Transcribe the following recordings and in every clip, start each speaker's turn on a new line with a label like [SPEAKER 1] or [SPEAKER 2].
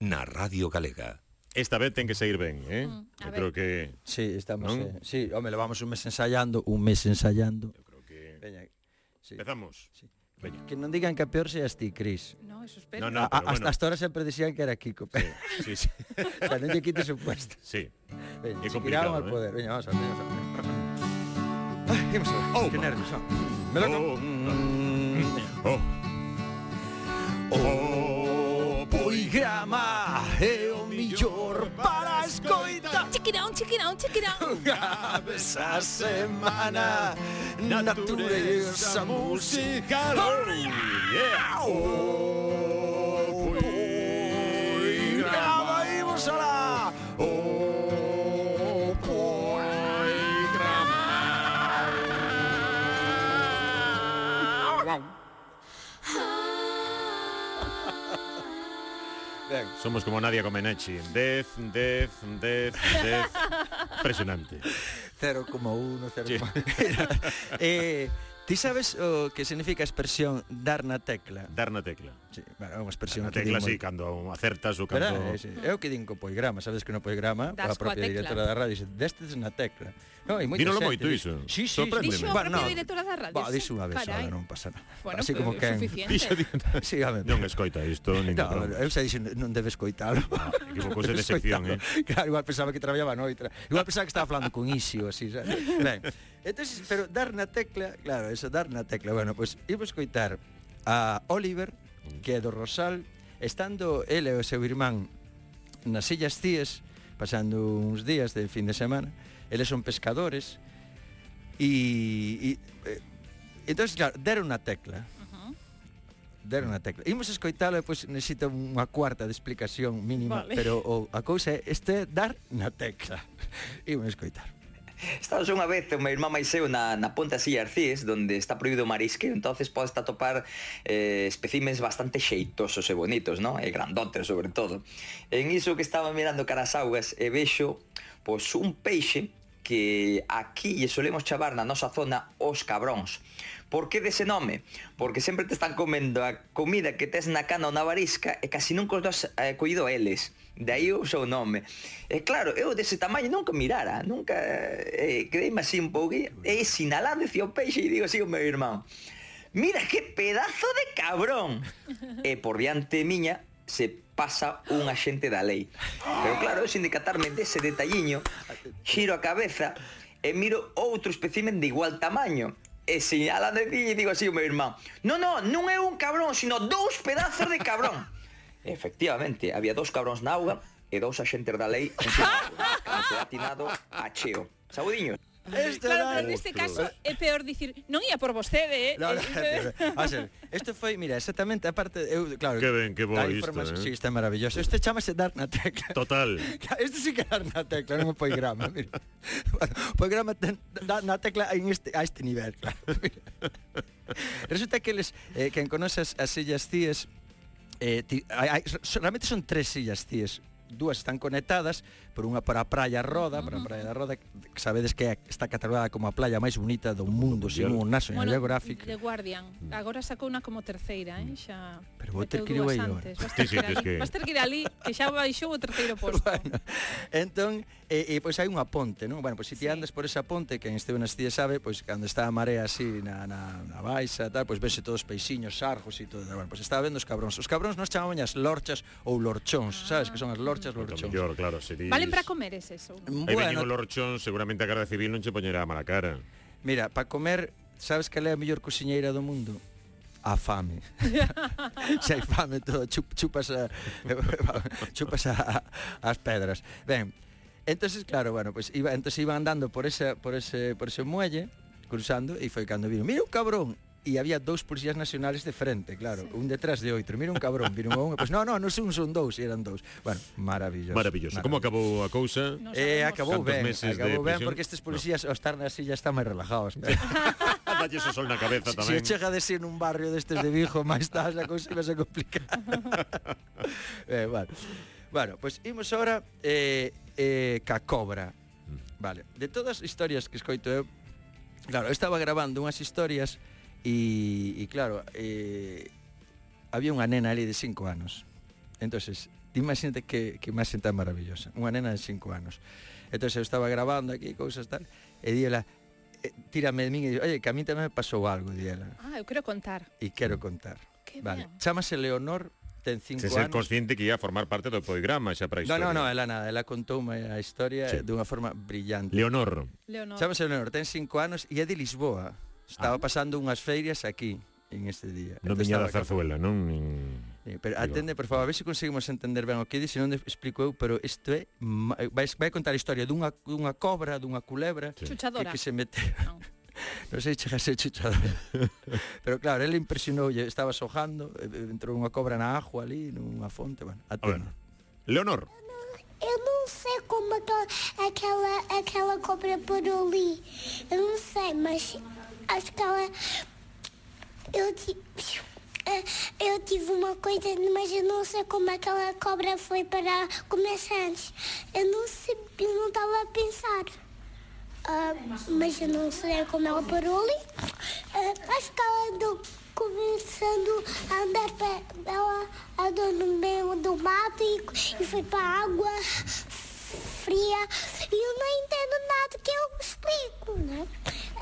[SPEAKER 1] na Radio Galega.
[SPEAKER 2] Esta vez ten que sair ben, eh? Mm,
[SPEAKER 3] a
[SPEAKER 2] Eu
[SPEAKER 3] ver.
[SPEAKER 2] creo que
[SPEAKER 4] Sí, estamos.
[SPEAKER 2] Non?
[SPEAKER 4] eh, sí, home, levamos un mes ensayando, un mes ensayando.
[SPEAKER 2] eu creo que
[SPEAKER 4] Veña, sí.
[SPEAKER 2] empezamos.
[SPEAKER 4] Sí.
[SPEAKER 2] Veña.
[SPEAKER 4] Que non digan que a peor seas ti, Cris.
[SPEAKER 3] No, eso espero.
[SPEAKER 2] No, no,
[SPEAKER 4] A-
[SPEAKER 2] pero
[SPEAKER 4] a- hasta,
[SPEAKER 2] bueno.
[SPEAKER 4] hasta ahora sempre decían que era Kiko. pero-
[SPEAKER 2] Sí, sí.
[SPEAKER 4] o sea, non lle quites o puesto.
[SPEAKER 2] sí.
[SPEAKER 4] Veña,
[SPEAKER 2] É
[SPEAKER 4] se
[SPEAKER 2] complicado,
[SPEAKER 4] quiraron al
[SPEAKER 2] eh.
[SPEAKER 4] poder. Veña, vamos a ver, vamos a ver. Ay, vamos a ver.
[SPEAKER 2] Oh,
[SPEAKER 4] que
[SPEAKER 2] ma.
[SPEAKER 4] nervios. ah. Me lo
[SPEAKER 2] Oh,
[SPEAKER 4] mm, veña.
[SPEAKER 2] Oh. Oh,
[SPEAKER 4] Poigrama é o
[SPEAKER 2] mellor para escoitar.
[SPEAKER 3] Chiquirón, chiquirón, chiquirón.
[SPEAKER 4] Unha vez a semana Natureza, música
[SPEAKER 2] Oh, yeah. Oh, poigrama.
[SPEAKER 4] Vamos alá
[SPEAKER 2] Oh, poigrama.
[SPEAKER 4] Ben,
[SPEAKER 2] Somos como Nadia Comaneci. Dez, dez, dez, dez. Impresionante.
[SPEAKER 4] 0,1, 0,1 eh, Ti sabes o que significa a expresión dar na tecla?
[SPEAKER 2] Dar na tecla.
[SPEAKER 4] Sí, bueno, é unha
[SPEAKER 2] Na
[SPEAKER 4] expresión que
[SPEAKER 2] tecla,
[SPEAKER 4] din
[SPEAKER 2] sí,
[SPEAKER 4] moi-
[SPEAKER 2] cando acertas ou
[SPEAKER 4] Verdad?
[SPEAKER 2] cando...
[SPEAKER 4] É, sí. É o eh, que din co poigrama, sabes que no poigrama
[SPEAKER 3] Das
[SPEAKER 4] A
[SPEAKER 3] coa
[SPEAKER 4] propia
[SPEAKER 3] tecla.
[SPEAKER 4] directora da radio dice, destes na tecla no, e moita
[SPEAKER 2] Dínolo
[SPEAKER 4] xente
[SPEAKER 2] moito
[SPEAKER 4] di-
[SPEAKER 2] iso.
[SPEAKER 4] sí, sí, sí,
[SPEAKER 2] Sorpréndeme.
[SPEAKER 3] Dixo a
[SPEAKER 4] Bueno,
[SPEAKER 3] propia
[SPEAKER 4] no,
[SPEAKER 3] directora da radio,
[SPEAKER 4] Bah,
[SPEAKER 3] sí.
[SPEAKER 4] dixo unha vez
[SPEAKER 3] Carai.
[SPEAKER 4] sola, non pasa nada
[SPEAKER 3] Bueno,
[SPEAKER 4] Así como
[SPEAKER 3] é
[SPEAKER 4] que
[SPEAKER 3] suficiente.
[SPEAKER 2] Dixo di-
[SPEAKER 4] Sí, a ver.
[SPEAKER 2] Non escoita isto, nin
[SPEAKER 4] No,
[SPEAKER 2] de broma.
[SPEAKER 4] eu xa dixen, non debes coitalo.
[SPEAKER 2] equivocouse de
[SPEAKER 4] Debes
[SPEAKER 2] sección, eh.
[SPEAKER 4] coitalo. Claro, igual pensaba que traballaba noite. Igual pensaba que estaba falando con Isio, así, xa. Ben, entonces, pero dar na tecla, claro, eso, dar na tecla. Bueno, pois pues, imos coitar a Oliver, que é do Rosal, estando ele e o seu irmán nas Illas Cíes, pasando uns días de fin de semana, eles son pescadores, e... e eh, entonces, claro, deron na tecla. Deron na tecla. Imos escoitalo e pois necesita unha cuarta de explicación mínima,
[SPEAKER 3] Vale.
[SPEAKER 4] vale. pero o, a cousa é este é dar na tecla. Imos escoitar.
[SPEAKER 5] Estábamos unha vez, o meu irmán máis eu, na, na ponta Silla Arcís, donde está prohibido o marisque, entonces podes atopar eh, especímenes bastante xeitosos e bonitos, non? E grandotes, sobre todo. En iso que estaba mirando cara ás augas, e vexo, pois, un peixe que aquí lle solemos chamar na nosa zona os cabróns. Por que dese nome? Porque sempre te están comendo a comida que tes na cana ou na varisca e casi nunca os dos eh, coido eles. De aí o seu nome. E Eh, claro, eu dese tamaño nunca mirara, nunca eh, creíme así un pouco e sinalá decía o peixe e digo así o meu irmán. Mira que pedazo de cabrón. E por diante miña se pasa un axente da lei. Pero claro, eu sin decatarme dese detalliño, xiro a cabeza e miro outro especimen de igual tamaño. E sinala de ti e digo así o meu irmán No, no, non é un cabrón, sino dous pedazos de cabrón Efectivamente, había dous cabróns na auga e dous axentes da lei en cima da auga. Cando se ha atinado a cheo. Saudiño.
[SPEAKER 4] Este
[SPEAKER 3] Claro,
[SPEAKER 4] dar-
[SPEAKER 3] pero neste caso é peor dicir, non ia por vostede, eh.
[SPEAKER 4] No, no, a ser, isto foi, mira, exactamente, aparte, eu, claro...
[SPEAKER 2] Que ben, que bo
[SPEAKER 4] a
[SPEAKER 2] isto, eh.
[SPEAKER 4] información- Sí, isto é maravilloso. Isto chamase dar na tecla.
[SPEAKER 2] Total.
[SPEAKER 4] Este sí que dar na tecla, non o poigrama, mira. Bueno, o poigrama ten, da, na tecla en este, a este nivel, claro. Mira. Resulta que eles, eh, quen conoces as sillas CIES, eh, ti, hai, hai, so- realmente son tres sillas CIES, dúas están conectadas por unha para a Praia Roda, para a Praia da Roda, que sabedes que é- está catalogada como a playa máis bonita do mundo, segundo o National
[SPEAKER 3] Bueno,
[SPEAKER 4] Geographic.
[SPEAKER 3] The Guardian. Agora sacou unha como terceira, eh? Xa.
[SPEAKER 4] Pero vou
[SPEAKER 3] meteu
[SPEAKER 4] ter que ir
[SPEAKER 3] dúas
[SPEAKER 4] aí
[SPEAKER 3] antes.
[SPEAKER 4] agora.
[SPEAKER 3] Vas ter
[SPEAKER 2] Sí, sí,
[SPEAKER 3] que
[SPEAKER 2] tes
[SPEAKER 3] ir ali,
[SPEAKER 2] que-
[SPEAKER 3] vas ter que ir ali, que xa baixou o terceiro posto.
[SPEAKER 4] Bueno, entón, e, e pois hai unha ponte, non? Bueno, pois se ti
[SPEAKER 3] Sí.
[SPEAKER 4] andas por esa ponte, que en este nas tías sabe, pois cando está a marea así na, na, na baixa, tal, pois vese todos os peixiños, sarjos e todo. Bueno, pois estaba vendo os cabróns. Os cabróns nos chamaban as lorchas ou lorchóns, sabes? Que son as lorchas,
[SPEAKER 2] Porque ao
[SPEAKER 4] lorchóns.
[SPEAKER 2] mellor, claro, se dis...
[SPEAKER 3] Valen para comer ese eso.
[SPEAKER 2] E Mm. veñen o lorchón, seguramente a Guardia Civil non che poñerá a mala cara.
[SPEAKER 4] Mira, para comer, sabes que é a mellor cociñeira do mundo? A fame. Se hai fame todo, chup, chupas a, chupas a, as pedras. Ben, entonces claro, bueno, pues iba, entonces iba andando por esa por ese por ese muelle cruzando e foi cando viron, mira un cabrón, e había dous policías nacionales de frente, claro, sí. un detrás de outro. Mira un cabrón, viron a un, e, pois pues, no, no, non son, son dous, e eran dous. Bueno, maravilloso.
[SPEAKER 2] Maravilloso. Como acabou a cousa?
[SPEAKER 3] Non
[SPEAKER 4] Eh,
[SPEAKER 3] sabemos.
[SPEAKER 4] acabou
[SPEAKER 2] Tantos
[SPEAKER 4] ben,
[SPEAKER 2] meses de
[SPEAKER 4] acabou ben
[SPEAKER 2] prisión.
[SPEAKER 4] porque estes policías ao estar na silla están máis relajados.
[SPEAKER 2] Dalles o sol na cabeza
[SPEAKER 4] Si
[SPEAKER 2] tamén.
[SPEAKER 4] chega de ser un barrio destes de Vigo, máis estás a cousa vai ser complicada. eh, vale. Bueno, pois pues, imos ahora eh, eh, ca cobra. Vale. De todas as historias que escoito eu, claro, eu estaba grabando unhas historias e, e claro, eh, había unha nena ali de 5 anos. Entonces, Ti Imagínate que, que imaxe tan maravillosa. Unha nena de cinco anos. Entón, eu estaba grabando aquí, cousas tal, e di ela, eh, tírame de min e di, oye, que a mí tamén me pasou algo, di ela.
[SPEAKER 3] Ah, eu quero contar.
[SPEAKER 4] E quero contar.
[SPEAKER 3] Que
[SPEAKER 4] vale.
[SPEAKER 3] ben.
[SPEAKER 4] Chámase Leonor, ten
[SPEAKER 2] Sen
[SPEAKER 4] cinco
[SPEAKER 2] ser
[SPEAKER 4] anos.
[SPEAKER 2] consciente que ia formar parte do programa xa para a
[SPEAKER 4] No,
[SPEAKER 2] historia.
[SPEAKER 4] no, eh. no, ela nada, ela contoume a historia
[SPEAKER 2] Sí.
[SPEAKER 4] sí. dunha forma brillante.
[SPEAKER 2] Leonor.
[SPEAKER 3] Leonor.
[SPEAKER 4] Chámase Leonor, ten cinco anos e é de Lisboa. Estaba
[SPEAKER 2] Ah.
[SPEAKER 4] pasando unhas feiras aquí en este día.
[SPEAKER 2] Non
[SPEAKER 4] Entón
[SPEAKER 2] viña da
[SPEAKER 4] estaba acá.
[SPEAKER 2] zarzuela, non...
[SPEAKER 4] Eh, Pero atende, por favor, a ver se conseguimos entender ben o que di, se non de- explico eu, pero isto é ma- vai, vai contar a historia dunha, dunha cobra, dunha culebra
[SPEAKER 2] Sí.
[SPEAKER 4] que,
[SPEAKER 3] Chuchadora.
[SPEAKER 4] que se mete
[SPEAKER 3] Non.
[SPEAKER 4] Non sei chegar a ser chuchadora Pero claro, ele impresionoulle Estaba sojando, eh, entrou unha cobra na agua ali Nunha fonte, bueno,
[SPEAKER 2] A ver.
[SPEAKER 4] atende
[SPEAKER 2] Leonor.
[SPEAKER 1] Eu não sei como aquela, aquela, aquela cobra parou ali. Eu não sei, mas acho que ela. Eu, ti- eh, eu tive uma coisa, mas eu não sei como aquela cobra foi para comerciantes. Eu não sei, eu não estava a pensar. Ah, mas eu não sei como ela parou ali. Ah, acho que ela andou começando a andar para. Ela andou no meio do mato e, e foi para a água fria. E eu não entendo nada que eu explico, né?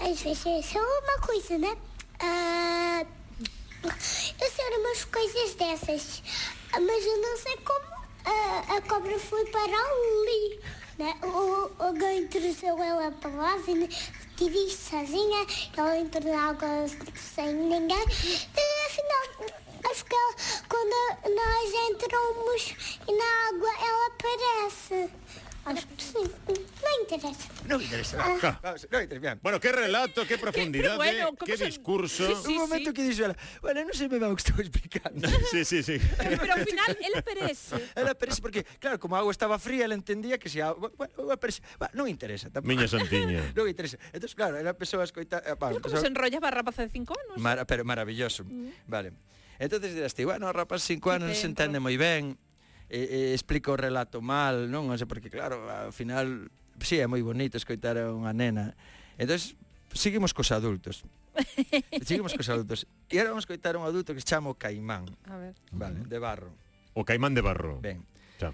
[SPEAKER 1] Às vezes é só uma coisa, né? Ah, eu sei umas coisas dessas, mas eu não sei como a, a cobra foi para ali. Né? O, alguém trouxeu ela para lá, vi- tive isto sozinha, ela entrou na água sem ninguém. E, afinal, acho que ela, quando nós entramos na água, ela aparece. Acho que sim, não interessa.
[SPEAKER 4] Non interesa, va, va, vamos, non interesa bien.
[SPEAKER 2] Bueno, qué relato, qué profundidade,
[SPEAKER 3] bueno, ¿cómo
[SPEAKER 2] qué
[SPEAKER 3] son?
[SPEAKER 2] discurso.
[SPEAKER 3] Sí,
[SPEAKER 4] Un momento
[SPEAKER 3] sí.
[SPEAKER 4] que dixo ela Bueno, non se me va o que estou explicando
[SPEAKER 2] Sí, sí, sí.
[SPEAKER 3] Pero, pero ao final ela perece.
[SPEAKER 4] Ela aparece porque, claro, como a agua estaba fría, ela entendía que se a agua, bueno, aparece, va, non interesa tampouco.
[SPEAKER 2] Miña santiña.
[SPEAKER 4] Non interesa. Entón, claro, ela empezou a escoitar, eh, va,
[SPEAKER 3] Pero como
[SPEAKER 4] empezou-
[SPEAKER 3] se Mm. enrollaba a rapaza de cinco anos.
[SPEAKER 4] Mara, pero maravilloso. Vale. Entonces dirás ti, bueno, o rapaz cinco
[SPEAKER 3] Que
[SPEAKER 4] anos non se
[SPEAKER 3] dentro.
[SPEAKER 4] entende moi ben, eh, eh, explica o relato mal, non? O sea, porque claro, ao final, si sí, é moi bonito escoitar a unha nena. Entonces seguimos cos adultos. seguimos cos adultos. E agora vamos coitar un adulto que se chama o Caimán,
[SPEAKER 3] A ver.
[SPEAKER 4] vale, de barro.
[SPEAKER 2] O caimán de barro.
[SPEAKER 4] Ben.
[SPEAKER 2] Xa.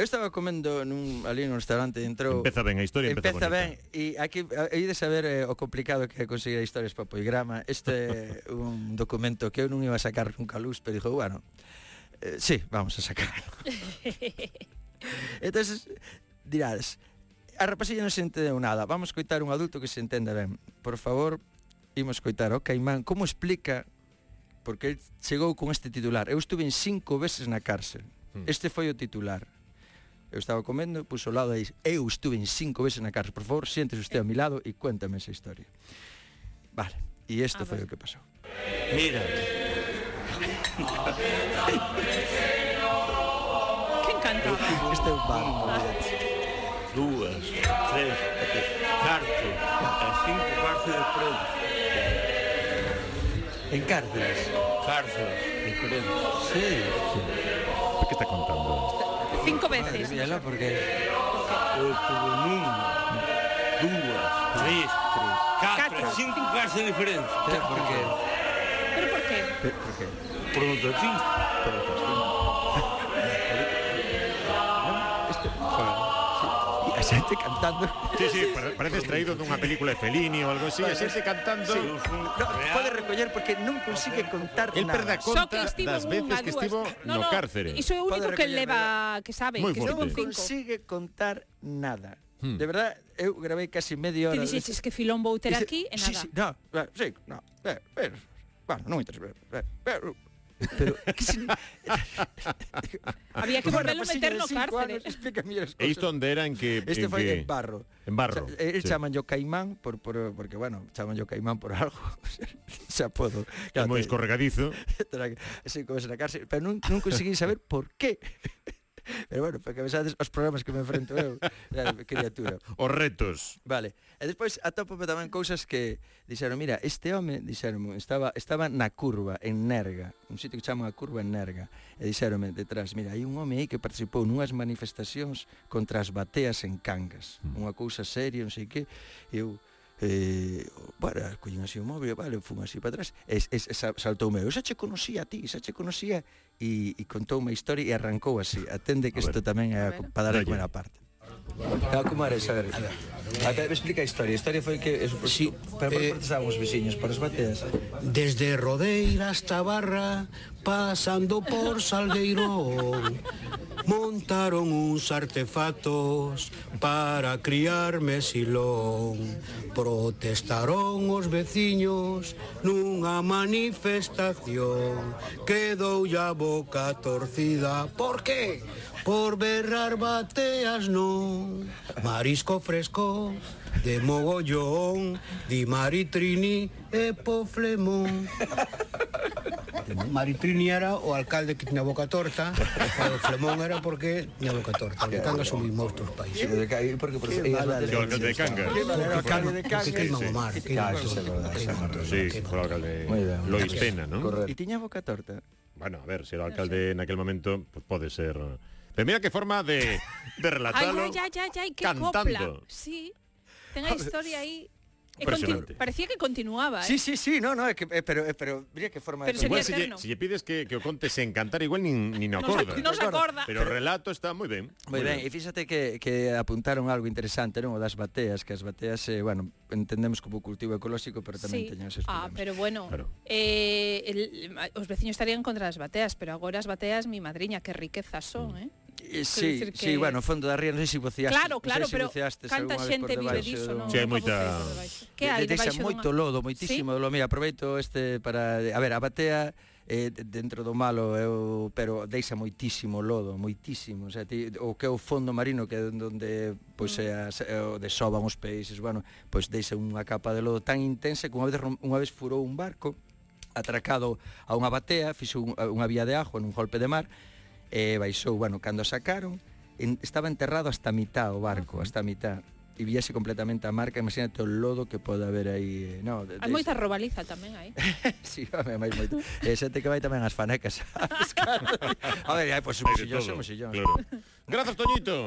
[SPEAKER 4] Eu estaba comendo nun, ali nun restaurante e entrou...
[SPEAKER 2] Empeza ben a historia, empeza,
[SPEAKER 4] Empeza
[SPEAKER 2] bonita.
[SPEAKER 4] ben e aquí hai de saber eh, o complicado que é conseguir historias para poigrama. Este é un documento que eu non iba a sacar nunca a luz, pero dixo, bueno, eh, sí, vamos a sacarlo. Entonces dirás, a rapasilla non se entendeu nada, vamos coitar un adulto que se entenda ben. Por favor, imos coitar o Caimán, como explica porque el chegou con este titular. Eu estuve en cinco veces na cárcel.
[SPEAKER 2] Hmm.
[SPEAKER 4] Este foi o titular. Eu estaba comendo, puxo ao lado e dixo Eu estuve en cinco veces na cárcel, por favor, siéntese usted a mi lado e cuéntame esa historia Vale, e
[SPEAKER 3] A
[SPEAKER 4] isto foi
[SPEAKER 3] ver.
[SPEAKER 4] o que pasou
[SPEAKER 6] Mira,
[SPEAKER 3] Que encantado.
[SPEAKER 4] Este é un barco
[SPEAKER 6] dúas, tres, carto, e cinco cárceles presos.
[SPEAKER 4] En cárceles
[SPEAKER 6] Cárceles diferentes.
[SPEAKER 4] Sí
[SPEAKER 2] Que está contando?
[SPEAKER 3] Cinco veces.
[SPEAKER 4] Mírala porque
[SPEAKER 6] Eu estuve nunha, dúas, tres, catro,
[SPEAKER 3] Catro.
[SPEAKER 6] cinco cárceles diferentes.
[SPEAKER 4] Pero porque
[SPEAKER 3] Pero por qué?
[SPEAKER 4] Pero porque
[SPEAKER 6] Pronto, ti.
[SPEAKER 4] Este Joder, sí. E a xente cantando
[SPEAKER 2] Sí, sí, pare- parece extraído dunha película de Fellini ou algo así, a xente cantando.
[SPEAKER 6] Eu fui
[SPEAKER 4] no,
[SPEAKER 6] real.
[SPEAKER 4] Pode recoller porque non consigue contar
[SPEAKER 2] El
[SPEAKER 4] nada
[SPEAKER 2] perda
[SPEAKER 3] Só que
[SPEAKER 2] conta
[SPEAKER 3] estivo
[SPEAKER 2] das veces
[SPEAKER 3] unha,
[SPEAKER 2] que
[SPEAKER 3] dúas.
[SPEAKER 2] estivo no cárcere.
[SPEAKER 3] Iso é o único
[SPEAKER 4] Pode
[SPEAKER 3] que
[SPEAKER 4] recoller,
[SPEAKER 3] leva que sabe,
[SPEAKER 2] Moi
[SPEAKER 3] que estivo
[SPEAKER 2] fuerte.
[SPEAKER 3] en cinco.
[SPEAKER 4] Non consigue contar nada
[SPEAKER 2] Hmm.
[SPEAKER 4] De verdad, eu gravei casi media
[SPEAKER 3] Ti
[SPEAKER 4] hora
[SPEAKER 3] dixeches que filón vou ter
[SPEAKER 4] Dice,
[SPEAKER 3] aquí e
[SPEAKER 4] sí,
[SPEAKER 3] nada.
[SPEAKER 4] Sí, no, eh, sí, no, eh, eh, bueno, non interesa. eh, eh, eh, Pero, que se...
[SPEAKER 3] Había que volverlo meter no cárcere.
[SPEAKER 4] Explícame as
[SPEAKER 2] E
[SPEAKER 4] cousas.
[SPEAKER 2] isto onde era en que...
[SPEAKER 4] Este
[SPEAKER 2] en
[SPEAKER 4] foi
[SPEAKER 2] que...
[SPEAKER 4] en barro.
[SPEAKER 2] En barro.
[SPEAKER 4] O sea, el
[SPEAKER 2] sí.
[SPEAKER 4] chaman yo Caimán por, por, porque, bueno, chaman yo Caimán por algo. Se apodo.
[SPEAKER 2] É moi escorregadizo.
[SPEAKER 4] terá que- así como se na cárcel, pero non, non conseguí saber por qué. Pero bueno, para que sabedes os programas que me enfrento eu, eh, criatura.
[SPEAKER 2] Os retos.
[SPEAKER 4] Vale. E despois atópome tamén cousas que dixeron, mira, este home, dixeronme, estaba estaba na curva en Nerga, un sitio que chaman a curva en Nerga, e dixeronme detrás, mira, hai un home aí que participou nunhas
[SPEAKER 2] Mm.
[SPEAKER 4] manifestacións contra as bateas en Cangas, unha cousa seria, non sei que, e eu eh, bueno, collín así o móvil, vale, fun así para atrás, e, e, e sa- saltoume, eu xa che conocía a ti, xa che conocía, e, e contoume a historia e arrancou así, atende que
[SPEAKER 2] A ver.
[SPEAKER 4] isto tamén é
[SPEAKER 3] ver.
[SPEAKER 4] para dar a
[SPEAKER 2] Dalle.
[SPEAKER 4] primeira parte.
[SPEAKER 7] Ah, como era esa? A ver, a ver, explica a historia. A historia foi que... Eso, sí, para eh, protestaban os veciños, para os bateas.
[SPEAKER 4] eh,
[SPEAKER 8] Desde Rodeira hasta Barra, pasando por Salgueirón, montaron uns artefactos para criar mesilón. Protestaron os veciños nunha manifestación. Quedou ya boca torcida. Por que? Por berrar bateas non. Marisco fresco de mogollón, di Maritrini e Poflemón. Maritrini era o alcalde que tiña boca torta, e o Flemón era porque tiña boca torta. Que canga son moi outros
[SPEAKER 7] Sí,
[SPEAKER 8] países.
[SPEAKER 7] de caí, porque por
[SPEAKER 4] mala
[SPEAKER 2] Que o alcalde de Cangas.
[SPEAKER 4] Pero
[SPEAKER 8] Claro,
[SPEAKER 4] de
[SPEAKER 8] porque queiman o mar, queiman
[SPEAKER 7] Claro, eso é verdade,
[SPEAKER 8] todo,
[SPEAKER 7] eso é
[SPEAKER 8] queiman todo,
[SPEAKER 2] Sí,
[SPEAKER 8] queiman
[SPEAKER 2] fue
[SPEAKER 8] todo.
[SPEAKER 2] o
[SPEAKER 7] Muy
[SPEAKER 2] alcalde
[SPEAKER 7] bien.
[SPEAKER 2] Lois Pena, ¿no?
[SPEAKER 4] E tiña boca torta.
[SPEAKER 2] Bueno, a ver, si era alcalde en aquel momento, pues puede ser... Pero mira qué forma de, de
[SPEAKER 3] Ay,
[SPEAKER 2] relatarlo.
[SPEAKER 3] ay, ay, ay, ay, qué copla.
[SPEAKER 2] cantando.
[SPEAKER 3] Sí. Tenga historia ahí. Eh,
[SPEAKER 2] Impresionante.
[SPEAKER 3] continu- Parecía que continuaba, ¿eh?
[SPEAKER 4] Sí, sí, sí, no, no, é que, é, pero, é, pero, mira que forma
[SPEAKER 3] Pero
[SPEAKER 4] de...
[SPEAKER 3] sería
[SPEAKER 2] Pues Igual si lle,
[SPEAKER 3] eterno.
[SPEAKER 2] si lle pides que, que o contes en cantar, igual ni, ni no
[SPEAKER 3] Nos,
[SPEAKER 2] acorda.
[SPEAKER 3] ac- nos acorda.
[SPEAKER 2] Pero o relato está moi ben.
[SPEAKER 4] Moi ben, e fíxate que, que apuntaron algo interesante, non? O das bateas, que as bateas, eh, bueno, entendemos como cultivo ecolóxico, pero
[SPEAKER 3] Sí.
[SPEAKER 4] tamén teñen eses
[SPEAKER 3] Ah,
[SPEAKER 4] problemas.
[SPEAKER 3] pero bueno,
[SPEAKER 2] Claro.
[SPEAKER 3] eh, el- os veciños estarían contra las bateas, pero agora as bateas, mi madriña, qué riquezas son,
[SPEAKER 2] Mm.
[SPEAKER 3] eh?
[SPEAKER 4] Eh, sí,
[SPEAKER 3] decir
[SPEAKER 4] sí,
[SPEAKER 3] que-
[SPEAKER 4] bueno, fondo da ría, non sei se buceaste.
[SPEAKER 3] Claro,
[SPEAKER 4] non sei
[SPEAKER 3] claro,
[SPEAKER 4] se
[SPEAKER 3] pero
[SPEAKER 4] buceastes
[SPEAKER 3] canta
[SPEAKER 4] algunha vez
[SPEAKER 3] xente
[SPEAKER 4] por
[SPEAKER 3] vive
[SPEAKER 4] debaixo
[SPEAKER 3] diso,
[SPEAKER 4] dun-
[SPEAKER 3] non?
[SPEAKER 2] Sí, hai moita-
[SPEAKER 3] Que hai
[SPEAKER 4] de, deixa
[SPEAKER 3] debaixo
[SPEAKER 4] moito lodo, moitísimo lodo. Mira, aproveito este para... A ver, a batea eh, de- dentro do malo, eu, pero deixa moitísimo lodo, moitísimo. O, sea, ti, o que é o fondo marino, que é onde pois, mm. as, é o de soban os peixes, bueno, pois deixa unha capa de lodo tan intensa que unha vez, rom- unha vez furou un barco atracado a unha batea, fixo un, a- unha vía de ajo en un golpe de mar, e baixou, bueno, cando a sacaron, en, estaba enterrado hasta a mitad o barco, hasta a mitad. E víase completamente a marca, imagínate o lodo que pode haber aí. eh, No, de,
[SPEAKER 3] Hai moita robaliza tamén aí.
[SPEAKER 4] sí, home, máis moito. E xente que vai tamén ás fanecas. a pescar. a ver, ai, pois pues,
[SPEAKER 2] Hai
[SPEAKER 4] un
[SPEAKER 2] de
[SPEAKER 4] mosillón,
[SPEAKER 2] todo,
[SPEAKER 4] un mosillón.
[SPEAKER 2] Claro. Grazas, Toñito.